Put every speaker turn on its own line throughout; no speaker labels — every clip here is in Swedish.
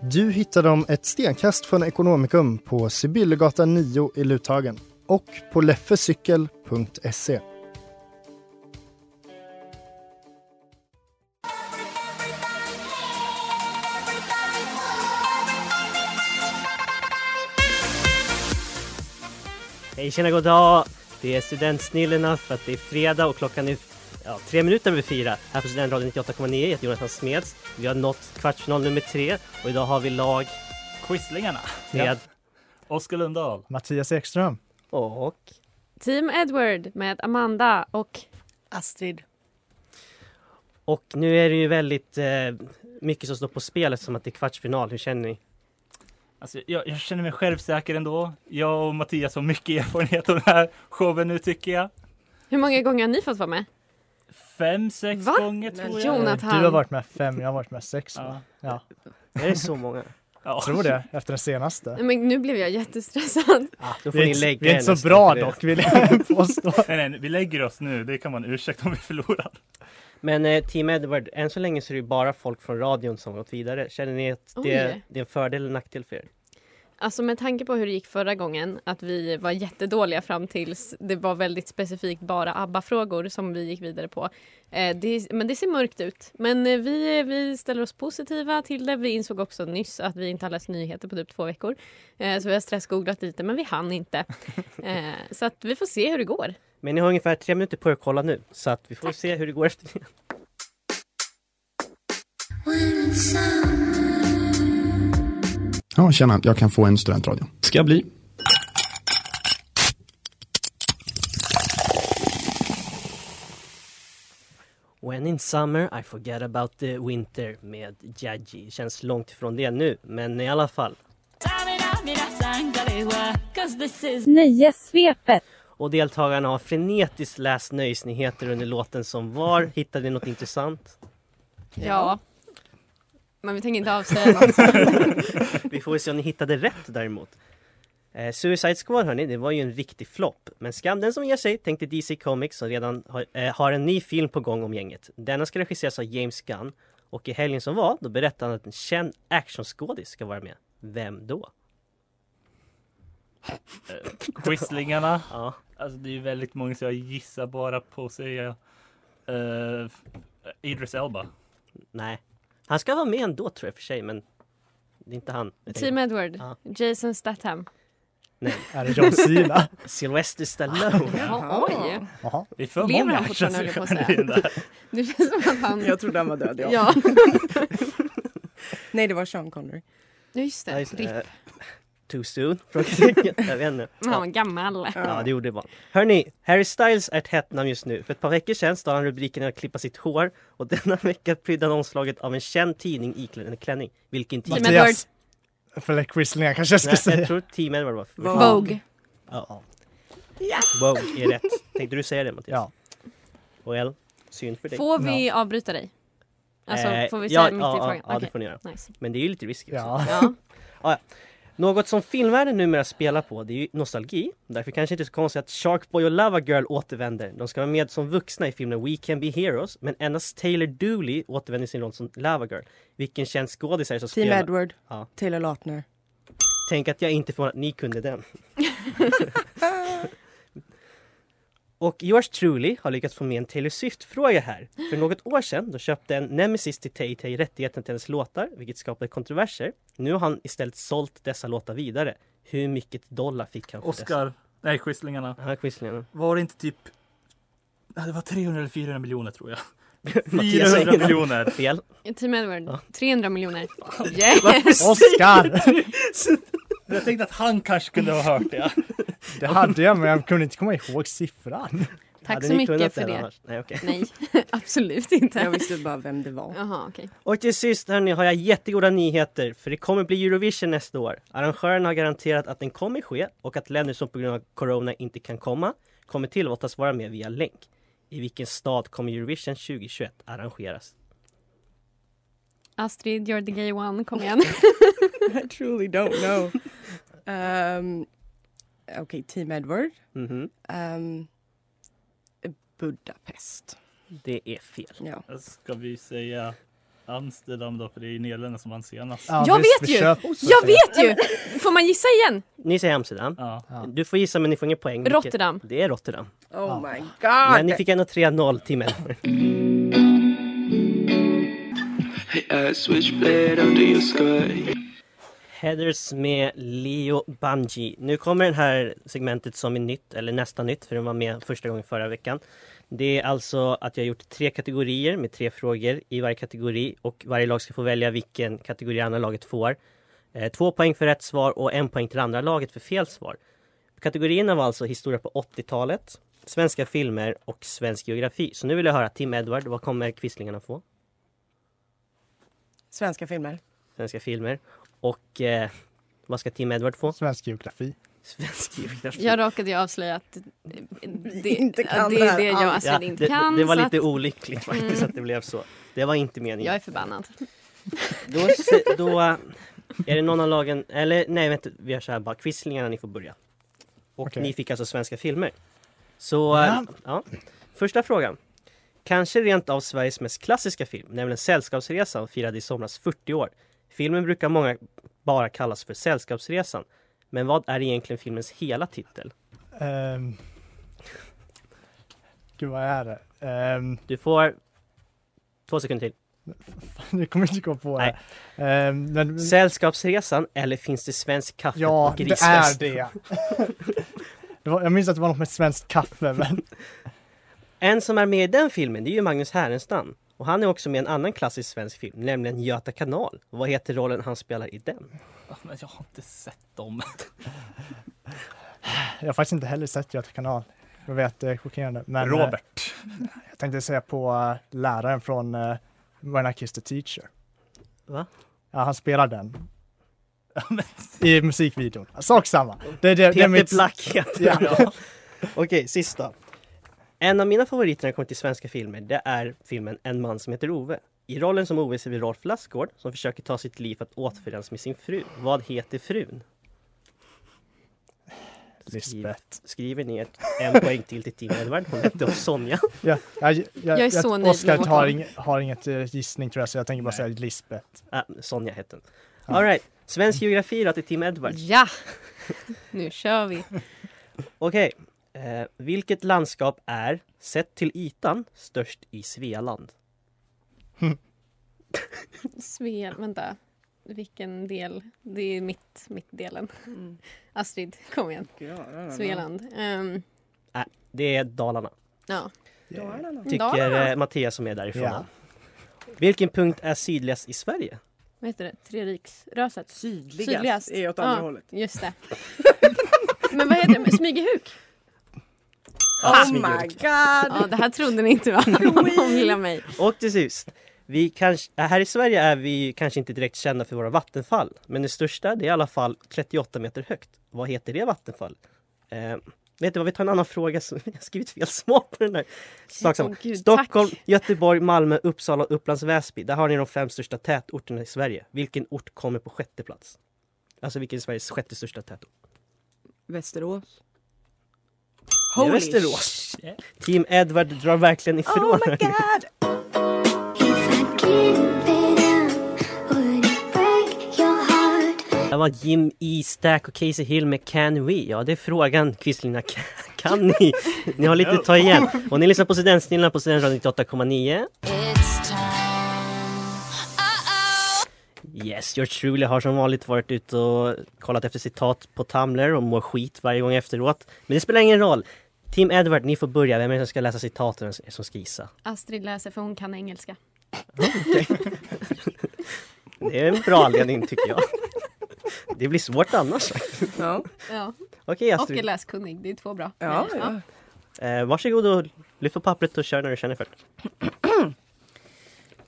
Du hittar dem ett stenkast från Ekonomikum på Sibyllegatan 9 i Luthagen och på leffecykel.se.
Hej tjena god dag! Det är studentsnillena för att det är fredag och klockan är ja, tre minuter över fyra här på Studentradion 98,9. Jag heter Jonathan Smeds. Vi har nått kvartsfinal nummer tre och idag har vi lag
Quislingarna
med
Oskar Lundahl.
Mattias Ekström.
och
Team Edward med Amanda och
Astrid.
Och nu är det ju väldigt eh, mycket som står på spel eftersom att det är kvartsfinal. Hur känner ni?
Alltså, jag, jag känner mig självsäker ändå. Jag och Mattias har mycket erfarenhet av den här showen nu tycker jag.
hur många gånger har ni fått vara med?
Fem, sex
Va?
gånger tror jag.
Du
Jonathan.
har varit med fem, jag har varit med sex.
Ja.
Ja,
Är det så många?
Ja.
tror det, efter den senaste.
Nej, men nu blev jag jättestressad.
Ah, då
Vi
får
är
ni
inte,
lägga
vi är
er
inte så
nästan
bra
för det.
dock, vill jag påstå.
Nej, nej, vi lägger oss nu. Det kan vara en ursäkt om vi förlorar.
Men eh, Team Edward, än så länge så är det ju bara folk från radion som har gått vidare. Känner ni att det,
Oj.
det är en fördel eller en nackdel för er?
Alltså med tanke på hur det gick förra gången, att vi var jättedåliga fram tills det var väldigt specifikt bara ABBA-frågor som vi gick vidare på. Eh, det, men det ser mörkt ut. Men eh, vi, vi ställer oss positiva till det. Vi insåg också nyss att vi inte har läst nyheter på typ två veckor. Eh, så vi har stressgooglat lite, men vi hann inte. Eh, så att vi får se hur det går.
Men ni har ungefär tre minuter på er att kolla nu, så att vi får se hur det går efter det.
Ja, tjena. Jag kan få en studentradio. Ska jag bli.
When in summer I forget about the winter med Jaji. Känns långt ifrån det nu, men i alla fall.
Nöjessvepet.
Och deltagarna har frenetiskt läst nöjesnyheter under låten som var. Hittade ni något intressant?
Ja. Men vi tänker inte avslöja något.
Vi får väl se om ni hittade rätt däremot. Eh, Suicide Squad hörni, det var ju en riktig flopp. Men skam den som ger sig, tänkte DC Comics som redan har, eh, har en ny film på gång om gänget. Denna ska regisseras av James Gunn. Och i helgen som var, då berättade han att en känd actionskådis ska vara med. Vem då?
Quislingarna.
Ja.
Alltså det är ju väldigt många så jag gissar bara på att säga eh, Idris Elba.
Nej. Han ska vara med ändå tror jag för sig, men det är inte han.
Team Edward,
Ja.
Jason Statham.
Är det John Cena?
Sylvester Stallone.
Ja, oj!
Jaha.
Det är för
Lever
många
han fortfarande, höll jag på att säga.
actionscener i den där.
Det känns som att han...
Jag trodde han var död. Ja.
Ja,
Nej, det var Sean Connery.
ja just det.
Ja, just det.
Ripp.
Eh, Too soon? Frågetecken. Jag vet inte.
Han var gammal.
Ja, det gjorde det Hörni, Harry Styles är ett hett namn just nu. För ett par veckor sedan stal han rubriken att klippa sitt hår och denna vecka prydde han omslaget av en känd tidning iklädd en klänning. Vilken tidning?
Team Edward.
Mattias. Förlåt, Quislingar kanske jag ska
Nej, jag
säga.
tror Team Edward var först.
Vogue.
Ja. Vogue är rätt. Tänkte du säga det Mattias?
Ja.
Well, synd för dig.
Får vi avbryta dig? Alltså,
Eh,
får vi
ja,
säga mitt
ja,
i frågan?
Ja, ja, det
Okej,
får ni göra.
nice.
Men det är ju lite risky också.
Ja.
Ja.
Något som filmvärlden numera spelar på det är ju nostalgi. Därför kanske inte så konstigt att Sharkboy och Lava Girl återvänder. De ska vara med som vuxna i filmen We Can Be Heroes men endast Taylor Dooley återvänder i sin roll som Lava Girl. Vilken känd skådis är det som
Team
spelar?
Edward,
Ja.
Taylor Lautner.
Tänk att jag inte får att ni kunde den. Och yours truly har lyckats få med en Taylor Swift-fråga här. För något år sedan då köpte en Nemesis till Tay-Tay rättigheten till hennes låtar, vilket skapade kontroverser. Nu har han istället sålt dessa låtar vidare. Hur mycket dollar fick han för
Oscar. Nej, Quislingarna.
Ja, Quislingarna.
Var det inte typ... Ja, Det var 300 eller 400 miljoner tror jag.
Mattias säger
400 miljoner.
Fel.
Team Edward,
Ja.
300 miljoner.
Varför
Yes!
säger Oscar! Jag tänkte att han kanske kunde ha hört det.
Det hade jag, men jag kunde inte komma ihåg siffran.
Tack så mycket för det.
Nej, okej.
Nej, absolut inte.
Jag
visste bara vem det var. Jaha, okej.
Och till sist hörni, har jag jättegoda nyheter för det kommer bli Eurovision nästa år. Arrangören har garanterat att den kommer ske och att länder som på grund av corona inte kan komma kommer tillåtas vara med via länk. I vilken stad kommer Eurovision 2021 arrangeras?
Astrid, you're the gay one. Kom igen.
I truly don't know. Um, Okej, Team Edward.
Mhm.
Um, Budapest.
Det är fel.
Ja.
Ska vi säga Amsterdam då? För det är ju Nederländerna som vann senast.
jag vet ju! Jag vet ju! Får man gissa igen?
Ni säger Amsterdam. Du får gissa men ni får ingen poäng. Vilket-
Rotterdam.
Det är Rotterdam.
Oh my
Men
god!
ni fick ändå 3-0 till människor. Headers med Leo Bungie. Nu kommer det här segmentet som är nytt, eller nästan nytt, för den var med första gången förra veckan. Det är alltså att jag har gjort tre kategorier med tre frågor i varje kategori och varje lag ska få välja vilken kategori andra laget får. Eh, Två poäng för rätt svar och en poäng till andra laget för fel svar. Kategorierna var alltså historia på 80-talet, svenska filmer och svensk geografi. Så nu vill jag höra Tim Edward, vad kommer Quislingarna få?
Svenska filmer.
Svenska filmer. Och eh, vad ska Tim Edward få?
Svensk geografi.
Svensk geografi.
Jag råkade ju avslöja att det,
Inte kan
det är
det
det jag alltså,
alls.
Astrid
Ja,
inte
det,
kan.
det var
så
lite
att Mm.
olyckligt faktiskt att det blev så. Det var inte meningen.
Jag är förbannad.
Då, se- då eh, är det någon av lagen, eller nej vänta, vi gör så här bara. Quislingarna ni får börja. Och
Okej.
ni fick alltså svenska filmer. Så, eh,
Ja.
ja. Första frågan. Kanske rent av Sveriges mest klassiska film, nämligen Sällskapsresan firade i somras 40 år. Filmen brukar många bara kallas för Sällskapsresan. Men vad är egentligen filmens hela titel?
Ehm. Gud, vad är det? Ehm,
Du får två sekunder till.
nu kommer jag inte gå på det. Ehm, men,
Sällskapsresan eller finns det svensk kaffe
ja,
och
det
grisfest?
är det. det var, jag minns att det var något med svenskt kaffe, men
En som är med i den filmen det är ju Magnus Härenstam. Och han är också med i en annan klassisk svensk film, nämligen Göta kanal. Och vad heter rollen han spelar i den?
Ja, Men jag har inte sett dem.
jag har faktiskt inte heller sett Göta kanal. Jag vet, det är chockerande. Men, eh,
Robert.
Jag tänkte säga på eh, läraren från uh, When I Kissed the Teacher.
Va?
Ja, han spelar den. I musikvideon. Sak samma. Det, är det, det
Peter
är mitt...
Black heter
Ja.
han. Okej, sista. En av mina favoriter när det kommer till svenska filmer, det är filmen En man som heter Ove. I rollen som Ove ser vi Rolf Lassgård som försöker ta sitt liv för att återförenas med sin fru. Vad heter frun? Skriv,
Lisbeth.
skriver ni ett, en poäng till till Tim Edward. Hon hette Sonja.
Ja, jag, jag,
Jag är så nöjd med
Oscar
vårt
har,
val.
ing, har inget eh, gissning tror jag, så jag tänker bara säga Lisbeth.
Ah, Sonja hette hon. All right. Svensk geografi då till Tim Edward.
Ja! Nu kör vi.
Okej. Eh, vilket landskap är, sett till ytan, störst i Svealand?
Svel, vänta. Vilken del? Det är mitt, mitt delen. Astrid, kom igen. Svealand. Ehm,
Det är Dalarna.
ja.
Tycker
Dalarna.
eh, Mattias som är därifrån.
Ja.
Vilken punkt är sydligast i Sverige?
Vad heter det? Treriksröset?
Sydligast, är åt andra
Ja,
hållet.
Just det. Men vad heter det? Smygehuk?
Oh my
Ja,
god!
det här trodde ni inte va? Om lilla mig.
Och till sist. Vi kanske, äh, här i Sverige är vi kanske inte direkt kända för våra vattenfall. Men det största det är i alla fall 38 meter högt. Vad heter det vattenfall? Eh, vet du vad, vi tar en annan fråga. Som, jag har skrivit fel svar på den där. Sak samma.
Åh, gud,
Stockholm,
tack.
Göteborg, Malmö, Uppsala och Upplands Väsby. Där har ni de fem största tätorterna i Sverige. Vilken ort kommer på sjätte plats? Alltså vilken är Sveriges sjätte största tätort?
Västerås.
Det är
Holy
Västerås. Team Edward drar verkligen ifrån.
Oh my god!
If I give it up, would it break your heart?
Det var Jim E. Stack och Casey Hill med Can We? Ja, det är frågan quizlinjerna. Kan- Kan ni? Ni har lite att ta igen. Och ni lyssnar på Studentsnillena på Studentradion 98,9. Yes, George Truly har som vanligt varit ute och kollat efter citat på Tumblr och mår skit varje gång efteråt. Men det spelar ingen roll. Team Edward, ni får börja. Vem är det som ska läsa citaten och som ska gissa?
Astrid läser för hon kan engelska.
Det är en bra anledning tycker jag. Det blir svårt annars.
Ja.
Ja.
Okej,
och
Astrid.
är läskunnig, det är två bra.
Ja, ja.
Eh, varsågod och lyft på pappret och kör när du känner för det.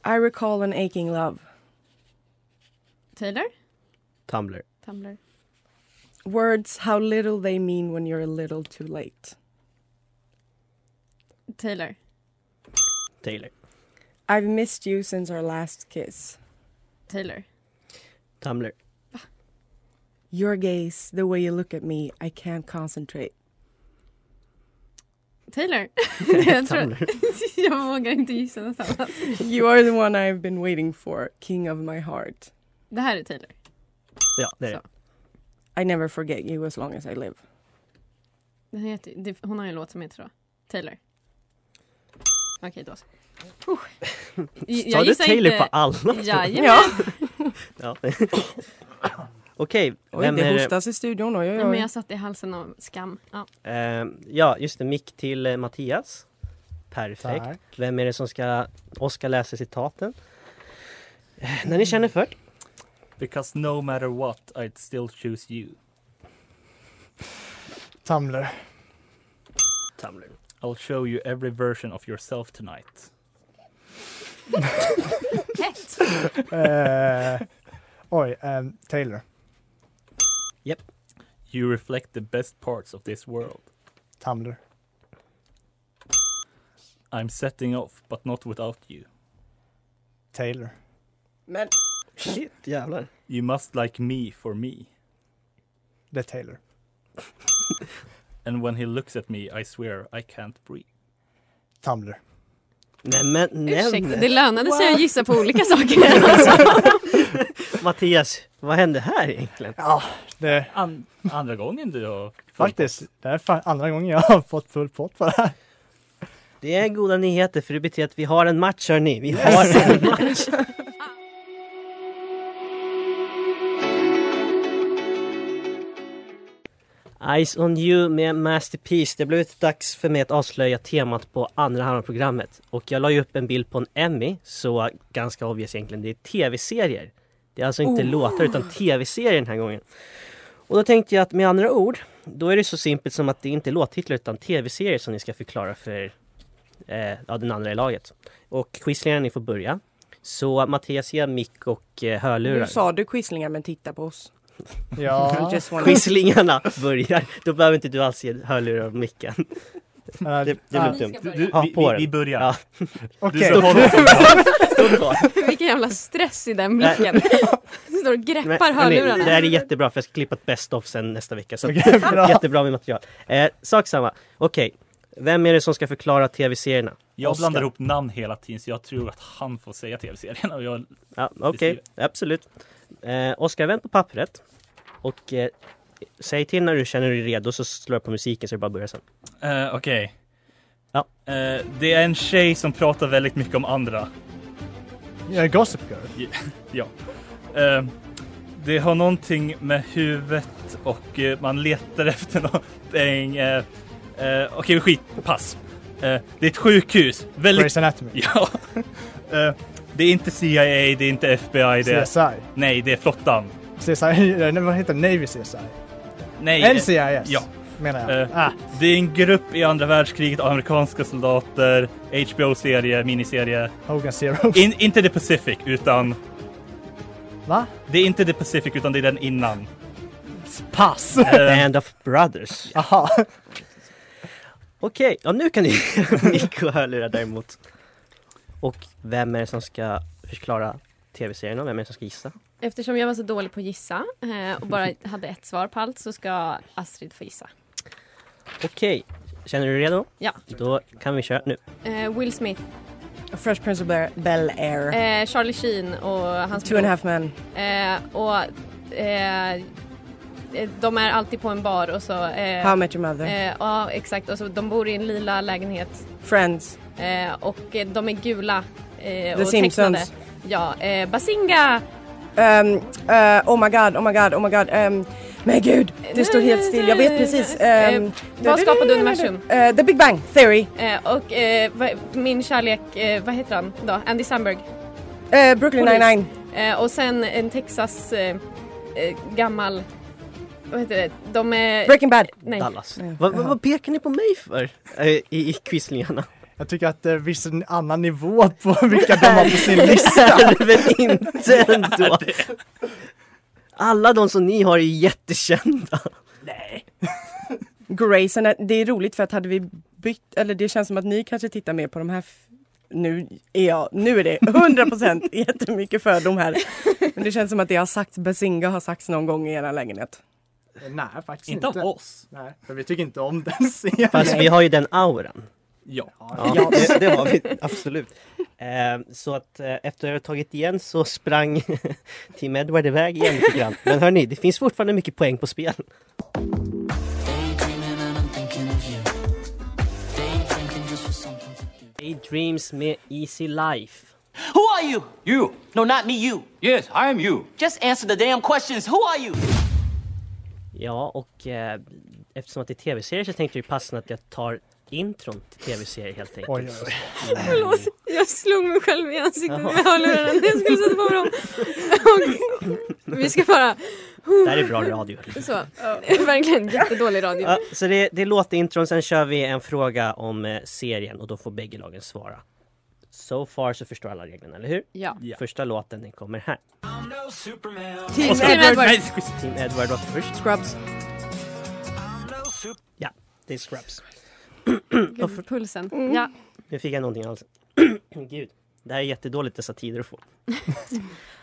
I recall an aching love.
Taylor?
Tumblr.
Tumblr.
Words how little they mean when you're a little too late.
Taylor.
Taylor.
I've missed you since our last kiss.
Taylor.
Tumblr.
Your gaze, the way you look at me, I can't concentrate.
Taylor. jag, tror,
Tumblr.
jag vågar inte gissa något annat.
You are the one I've been waiting for, king of my heart.
Det här är Taylor.
Ja, det är det.
I never forget you as long as I live.
Den heter, det, hon har ju en låt som heter så. Taylor. Okej, då så. Oh. Jag
Sa du
gissar
Taylor
inte-
på alla?
Jajamän.
Ja.
Ja. Okej,
Oj,
vem
det
är
hostas i studion. Oj, oj,
Nej, men
oj.
jag satt i halsen av skam. Ja.
Eh, ja, just det. Mick till eh, Mattias. Perfekt.
Tack.
Vem är det som ska... Oskar läser citaten. Eh, när ni känner för.
Because no matter what I'd still choose you.
Tumblr.
Tumblr.
I'll show you every version of yourself tonight.
Hett!
Eh, oj, ehm, Taylor.
You reflect the best parts of this world.
Tumblr.
I'm setting off, but not without you.
Taylor.
Men
Shit, jävlar.
You must like me for me.
Det är Taylor.
And when he looks at me, I swear I can't breathe.
Tumblr.
Nej, men nämn!
Ursäkta, det lönade sig att gissa på olika saker. Alltså,
Mattias, vad hände här egentligen?
Ja, det
An- andra gången du har...
faktiskt. Det är fan andra gången jag har fått full pott på det här.
Det är goda nyheter för det betyder att vi har en match hörni. Vi har en match. Eyes on you med Masterpiece. Det har blivit dags för mig att avslöja temat på andra halvan av programmet. Och jag la ju upp en bild på en Emmy, så ganska obvious egentligen. Det är tv-serier. Det är alltså inte
Oh.
låtar utan tv-serier den här gången. Och då tänkte jag att med andra ord, då är det så simpelt som att det inte är låttitlar utan tv-serier som ni ska förklara för eh, ja, den andra i laget. Och quizlingarna ni får börja. Så Mattias, ge mick och eh,
nu
hörlurar.
sa du quislingar men titta på oss.
Ja.
I just wanna-
Quizlingarna börjar. Då behöver inte du alls ge hörlurar och micken.
eh,
Det, det
ah,
blev dumt.
ska börja.
Du,
Ja,
vi,
på
vi,
den.
vi börjar.
Ja.
Okej.
Du står kvar.
Stå kvar.
Vilken jävla stress i den blicken. Står och
Men-
greppar
men nej,
hörlurarna.
Det här är jättebra för jag ska klippa ett best of sen nästa vecka. Så
Okej, bra.
jättebra med material. Eh, sak samma. Okej, vem är det som ska förklara tv-serierna?
Jag
Oscar.
blandar ihop namn hela tiden så jag tror att han får säga tv-serien. Och jag,
Ja, Okej, absolut. Eh, Oskar, vänd på pappret. Och eh, säg till när du känner dig redo så slår jag på musiken så det bara börjar sen.
Eh, Okej.
Ja.
Eh, det är en tjej som pratar väldigt mycket om andra.
Jag är Gossip Girl.
Eh, det har någonting med huvudet och eh, man letar efter någonting. Eh, eh, Okej, skit. Pass. Eh, det är ett sjukhus. Väldigt...
Grey's Anatomy.
Ja. Eh, det är inte CIA, det är inte FBI. Det är...
CSI.
Nej, det är flottan.
CSI, nej, vad heter det? Navy CSI?
Nej. eh,
NCIS
Ja.
menar jag.
Eh,
ah,
Det är en grupp i andra världskriget, amerikanska soldater, HBO-serie, miniserie.
Hogan Zero.
In, inte The Pacific, utan...
Va?
Det är inte The Pacific, utan det är den innan.
Pass!
Band of Brothers.
Aha.
Okej, ja, nu kan ni Nico hörlurar däremot. Och vem är det som ska förklara tv-serierna? Vem är det som ska gissa?
Eftersom jag var så dålig på att gissa eh, och bara hade ett svar på allt så ska Astrid få gissa.
Okej, känner du dig redo?
Ja.
Då kan vi köra nu.
Eh, Will Smith,
Fresh Prince of Bel Air.
eh, Charlie Sheen och Eh, hans
Two and a half men.
Eh, och eh, eh, de är alltid på en bar och så... Eh,
How I Met Your Mother.
Eh, ja, exakt. Och så, de bor i en lila lägenhet
Friends.
eh, och eh, de är gula eh,
The
och
Simpsons.
tecknade. Ja, eh, Basinga!
Ehm, eh, oh my god, oh my god, oh my god. ehm, men gud, det står helt still. Jag vet precis. ehm,
Eh, vad skapade universum?
Eh, the Big Bang Theory.
Eh, och eh, va, min kärlek, eh, vad heter han då? Andy Samberg.
Eh, Brooklyn
Polis.
Nine-Nine.
Eh, och sen en Texas eh, eh, gammal, vad heter det? De är...
Breaking Bad.
Nej.
Dallas. Vad, vad, vad pekar ni på mig för eh, i, i quizlingarna?
Jag tycker att det finns en annan nivå på vilka de har på sin lista.
Men inte ändå. Alla de som ni har är ju jättekända.
Grace, Anat- det är roligt för att hade vi bytt, eller det känns som att ni kanske tittar mer på de här f- nu är, jag, nu är det 100% jättemycket fördom här. Men det känns som att det har sagts, Bazinga har sagts någon gång i era lägenhet.
Nej, faktiskt
Inte
inte.
av oss.
Nej, för vi tycker inte om den serien.
Fast vi har ju den auran.
Ja.
ja det, det har vi absolut. Eh, Så att eh, efter att jag tagit igen så sprang Team Edward iväg igen lite grann. Men hörni, det finns fortfarande mycket poäng på spel. Daydreams med Easy Life.
Who are you? You. No, not me, you. Yes, I am you. Just answer the damn questions. Who are you?
Ja, och eh, eftersom att det är tv-serier så tänkte jag ju passande att jag tar intron till tv-serier helt enkelt.
Oj, oj,
oj.
Förlåt, jag slog mig själv i ansiktet
Jaha.
med hörlurarna när jag skulle sätta på mig dem. Och, vi ska bara...
Det här Mm. är bra radio.
Så, verkligen jättedålig radio.
Ja, så det, det är låtintron, sen kör vi en fråga om eh, serien och då får bägge lagen svara. So far så förstår alla reglerna, eller hur?
Ja.
Första låten, den kommer här.
Team
Och så-
Edward. Edward.
Nej, skit. Team Edward var först. Scrubs. Ja, det är Scrubs. Då får-
Gud, pulsen.
Mm.
Ja.
Nu fick jag någonting alls. Gud, det här är jättedåligt dessa tider att få.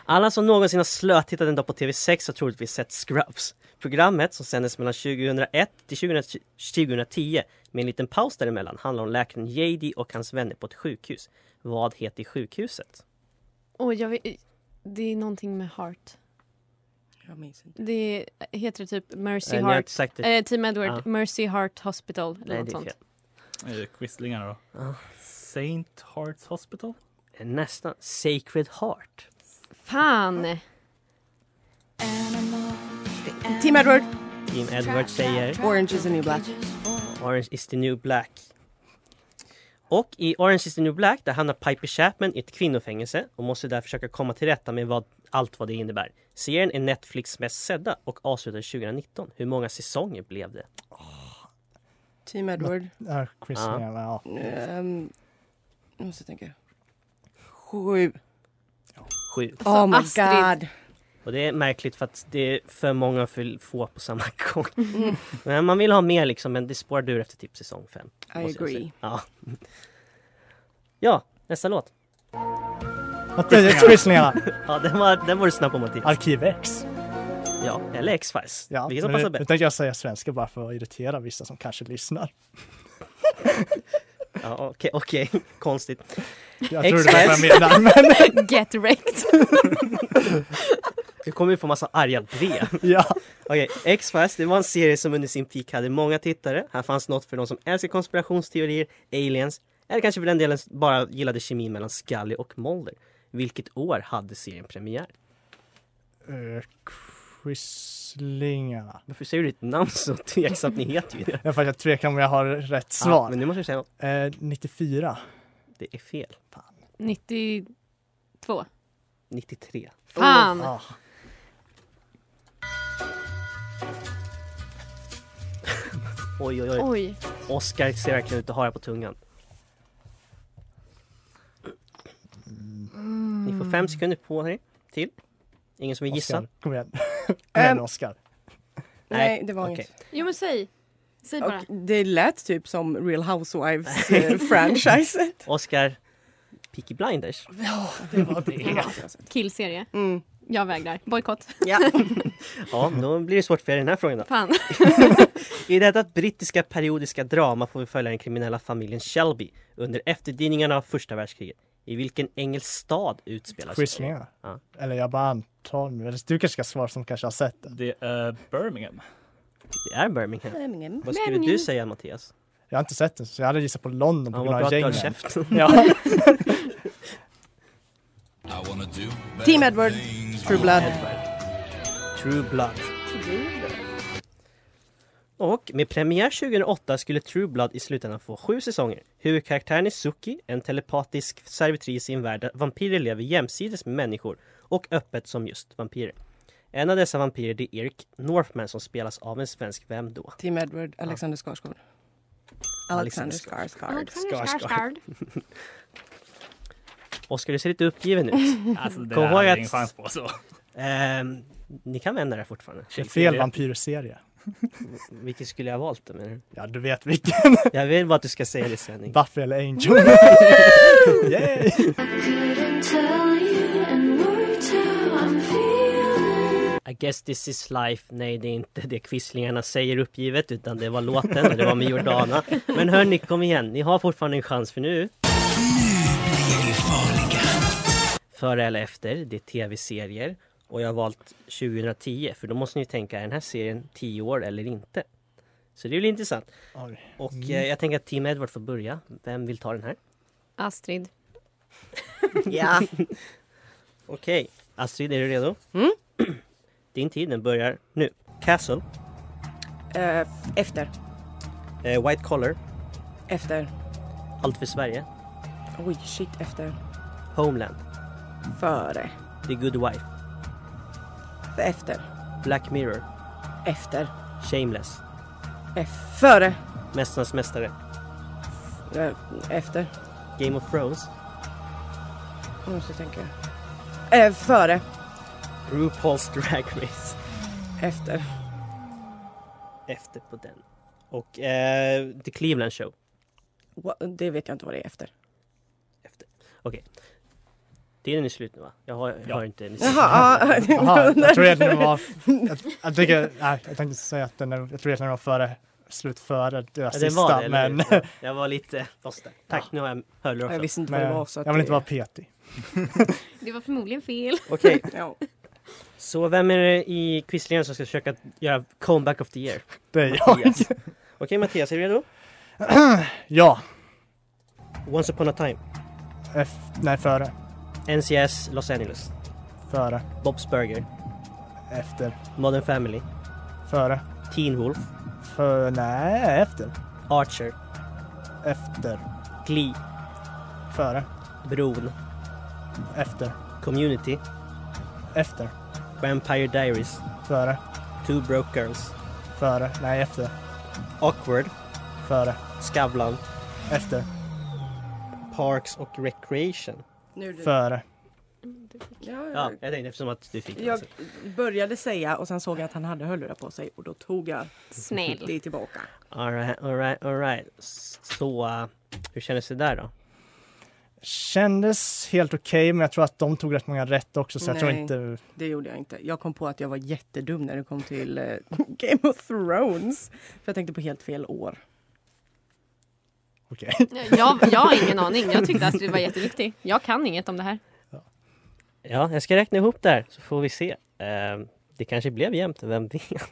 Alla som någonsin har slötittat en dag på TV6 har troligtvis sett Scrubs. Programmet som sändes mellan 2001 till 2010 2010 med en liten paus däremellan handlar om läkaren J.D. och hans vänner på ett sjukhus. Vad heter sjukhuset?
Och jag vet, det är någonting med heart.
Jag minns inte.
Det heter typ Mercy
Eh, ni har
Heart.
inte sagt det.
Eh, Team Edward,
Ja.
Mercy Heart Hospital eller
Nej,
något
det är
sånt.
fel.
Eh, Quislingarna då? Saint Hearts Hospital?
Nästan. Sacred Heart.
Fan!
Team Edward.
Team Edward säger...
Orange is the new black.
Orange is the new black. Och i Orange is the new black där hamnar Piper Chapman i ett kvinnofängelse och måste där försöka komma till rätta med vad, allt vad det innebär. Serien är Netflix mest sedda och avslutades 2019. Hur många säsonger blev det?
Team Edward.
Ja, quizlingarna, ja.
Ehm, nu måste jag tänka. Alltså, Sju.
Sju.
Oh my
Astrid.
god.
Och det är märkligt för att det är för många och för få på samma gång. Men man vill ha mer liksom, men det spårade ur efter typ säsong 5.
I agree.
Ja. ja, nästa låt.
Att det är quizlingarna.
Ja, den var, den var du snabb på Mattias.
Arkiv X.
Ja, eller X-Files.
Ja,
Vilket som
men
passar
nu, nu
bäst.
tänkte jag säga svenska bara för att irritera vissa som kanske lyssnar.
Ja, Okej, okej. Konstigt.
Jag tror det var
X-Files.
vad jag menade. Men,
Get wrecked!
Du kommer ju få massa arga brev.
ja.
Okej, X-Files, det var en serie som under sin peak hade många tittare. Här fanns något för de som älskar konspirationsteorier, aliens, eller kanske för den delen bara gillade kemin mellan Scully och Mulder. Vilket år hade serien premiär?
Eh, Quislingarna.
Varför säger du ditt namn så tveksamt? Ni heter ju det.
Jag får jag tvekar om jag har rätt
Ah,
svar.
men nu måste jag säga något.
Eh, 94.
Det är fel.
92.
93.
Fan!
Ah.
Oj, oj, oj.
Oj.
Oscar ser verkligen ut att ha det på tungan. Ni får fem sekunder på er till. Ingen som vill gissa?
Oscar, kom igen. Kom igen Oscar.
Nej, det var
okej.
inget.
Jo men säg. Säg Typ bara.
Och det lät typ som Real Housewives eh, franchise.
Oscar Peaky Blinders.
Killserie.
Mm.
Jag vägrar. Bojkott.
Ja, då blir det svårt för er i den här frågan då.
Fan.
I detta brittiska periodiska drama får vi följa den kriminella familjen Shelby under efterdyningarna av första världskriget. I vilken engelsk stad utspelar sig?
Quizningar.
Ja.
Eller jag bara antar nu. Eller Du kanske ska svara som kanske har sett det.
Det är Birmingham.
Det är Birmingham.
Birmingham.
Vad skulle
Birmingham.
du säga Mattias?
Jag har inte sett den så jag hade gissat på London på
Ja,
grund
vad
av
bra
gängen.
att du har käften.
ja.
Team Edward, True Blood.
True Blood. Och med premiär 2008 skulle True Blood i slutändan få sju säsonger. Huvudkaraktären är Suki, en telepatisk servitris i en värld där vampyrer lever jämsides med människor och öppet som just vampyrer. En av dessa vampyrer det är Erik Northman som spelas av en svensk, vem då?
Team Edward, Alexander Skarsgård.
Alexander
Alexander Skarsgård.
Skarsgård. Oskar, du ser lite uppgiven ut.
Alltså, det
Kom
där
ihåg
hade jag
att-
ingen chans på, så.
Ehm, ni kan vända det här fortfarande.
Det är fel vampyrserie.
Vilken skulle jag ha valt då menar du?
Ja, du vet vilken.
Jag vill bara att du ska säga det Svenning.
Buffy eller Angel. Yay!
I guess this is life. Nej, det är inte det quislingarna säger uppgivet utan det var låten och det var med Jordana. Men hörni, kom igen. Ni har fortfarande en chans för nu. Före eller efter, det är tv-serier. Och jag har valt 2010 för då måste ni tänka, är den här serien 10 år eller inte? Så det blir intressant. Och eh, jag tänker att Team Edward får börja. Vem vill ta den här?
Astrid.
Ja. Okej, Astrid är du redo? Mm. Din tid den börjar nu. Castle,
Eh, efter.
eh, White Collar,
Efter.
Allt för Sverige,
Oj, shit. Efter.
Homeland,
Före.
The Good Wife,
Efter.
Black Mirror,
Efter.
Shameless,
F- före.
Mästarnas Mästare,
Eh, efter.
Game of Thrones,
Jag måste tänka. Eh, före.
RuPaul's Drag Race.
Efter.
Efter på den. Och eh, The Cleveland Show.
Wha- Det vet jag inte vad det är efter.
Okej. Tiden är slut nu va? Jag har, jag har inte...
Jaha, ja.
Jaha, jag tror egentligen det var... Jag, jag, tycker, nej, jag tänkte säga att den, är- jag tror egentligen det var före, slut före deras
Ja,
sista.
det var det, eller
men,
hur? Ja, Jag var lite lost där. Tack, nu har jag hörlurar också.
Jag visste inte vad det
men
var. Så att
jag vill inte
det-
vara petig.
Det var förmodligen fel.
Okej.
Ja.
Så vem är det i quizlinjen som ska försöka göra comeback of the year?
Det är jag.
Mattias. Okej Mattias, är du redo?
ja,
Once upon a time.
F, nej före.
NCS Los Angeles.
Före.
Bob's Burger.
Efter.
Modern Family.
Före.
Teen Wolf.
För, nej, efter.
Archer.
Efter.
Glee.
Före.
Bron.
Efter.
Community.
Efter.
Vampire Diaries.
Före.
Two Broke Girls.
Före. Nej, efter.
Awkward.
Före.
Skavlan.
Efter.
Parks och Recreation.
Nu är det-
Före.
Ja, jag tänkte eftersom att du fick det.
Mm. Jag började säga och sen såg jag att han hade hörlurar på sig och då tog jag
Snäll.
det tillbaka.
Alright, alright, alright. Så, eh, hur kändes det där då?
Kändes helt okej, men jag tror att de tog rätt många rätt också så jag tror
Nej.
inte...
Det gjorde jag inte. Jag kom på att jag var jättedum när det kom till eh, Game of Thrones. För jag tänkte på helt fel år.
Okej.
Jag, jag har ingen aning. Jag tyckte Astrid var jätteduktig. Jag kan inget om det här.
Ja, jag ska räkna ihop där så får vi se. Eh, det kanske blev jämnt, vem vet?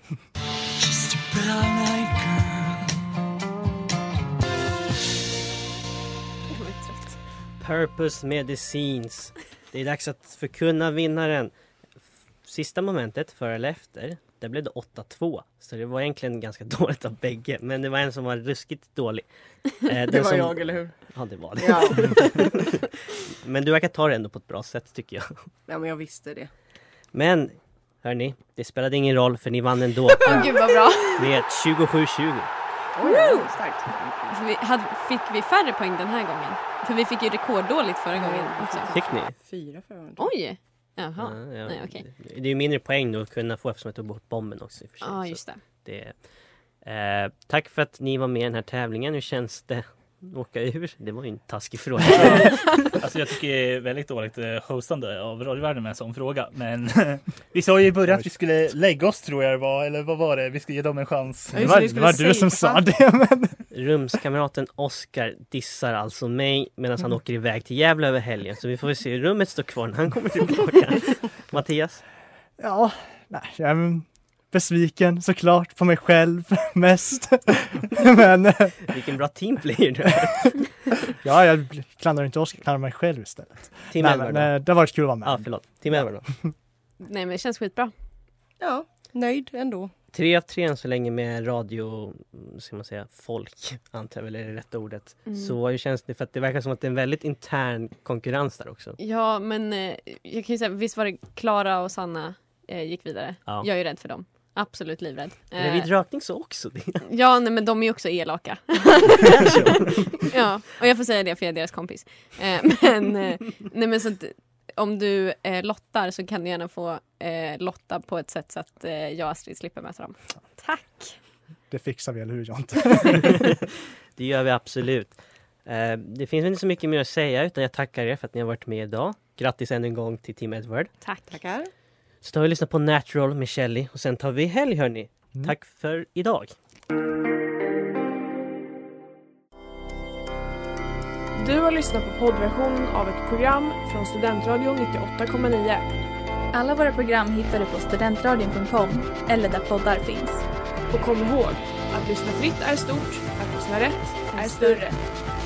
Purpose Medicines. Det är dags att förkunna vinnaren. F- Sista momentet, före eller efter, där blev det 8-2. Så det var egentligen ganska dåligt av bägge, men det var en som var ruskigt dålig. Eh, den
Det var
som-
jag, eller hur?
Ja, det var det.
Ja.
men du verkar ta det ändå på ett bra sätt, tycker jag.
Ja, men jag visste det.
Men, hörni, det spelade ingen roll för ni vann ändå.
Åh, gud, vad bra.
Med 27-20.
Woo! Starkt.
Alltså, Vi hade, fick vi färre poäng den här gången? För vi fick ju rekorddåligt förra gången också.
Fick ni?
Fyra förra gången.
Oj! Jaha.
Ja, ja.
Nej, okej.
Det är ju mindre poäng nu att kunna få eftersom jag tog bort bomben också. I och för sig.
Ja,
Så
just det.
det eh, tack för att ni var med i den här tävlingen. Hur känns det? Åka ur? Det var ju en taskig fråga.
Alltså jag tycker det är väldigt dåligt eh, hostande av radiovärlden med en sån fråga. Men vi sa ju i början att vi skulle lägga oss tror jag det var, eller vad var det? Vi skulle ge dem en chans.
Ja, just det, ni skulle Ah. safea.
Rumskamraten Oscar dissar alltså mig medan
Mm.
han åker iväg till Gävle över helgen. Så vi får väl se hur rummet står kvar när han kommer tillbaka. Mattias?
Ja, nej, jag är besviken såklart på mig själv mest. Men, eh,
Vilken bra teamplayer du är.
ja, jag klandrar inte Oskar, jag klandrar mig själv istället.
Tim
nej,
Elmer
men,
då?
eh, det har varit kul att vara med.
Ja, förlåt. Tim Elmer då?
Nej men det känns skitbra.
Ja, nöjd ändå.
Tre av tre än så länge med radio, mm, ska man säga, folk antar jag väl är det rätta ordet.
Mm.
Så hur känns det? För att det verkar som att det är en väldigt intern konkurrens där också.
Ja men eh, jag kan ju säga, visst var det Klara och Sanna eh, gick vidare?
Ja.
Jag är ju rädd för dem. Absolut livrädd.
Men
Eh,
vid rökning så också det.
Ja, nej, men de är ju också elaka. ja, och jag får säga det för jag är deras kompis. Eh, men, eh, nej, men så att, om du eh, lottar så kan du gärna få eh, lotta på ett sätt så att eh, jag och Astrid slipper möta dem. Tack!
Det fixar vi, eller hur Jonte?
Det gör vi absolut. Eh, Det finns väl inte så mycket mer att säga utan jag tackar er för att ni har varit med idag. Grattis än en gång till Tim Edward.
Tack!
Tackar.
Så tar vi och lyssnar på Natural med Kelly och sen tar vi helg hörni. Tack för idag.
Du har lyssnat på poddversionen av ett program från Studentradion 98,9.
Alla våra program hittar du på studentradion.com eller där poddar finns.
Och kom ihåg, att lyssna fritt är stort, att lyssna rätt är större.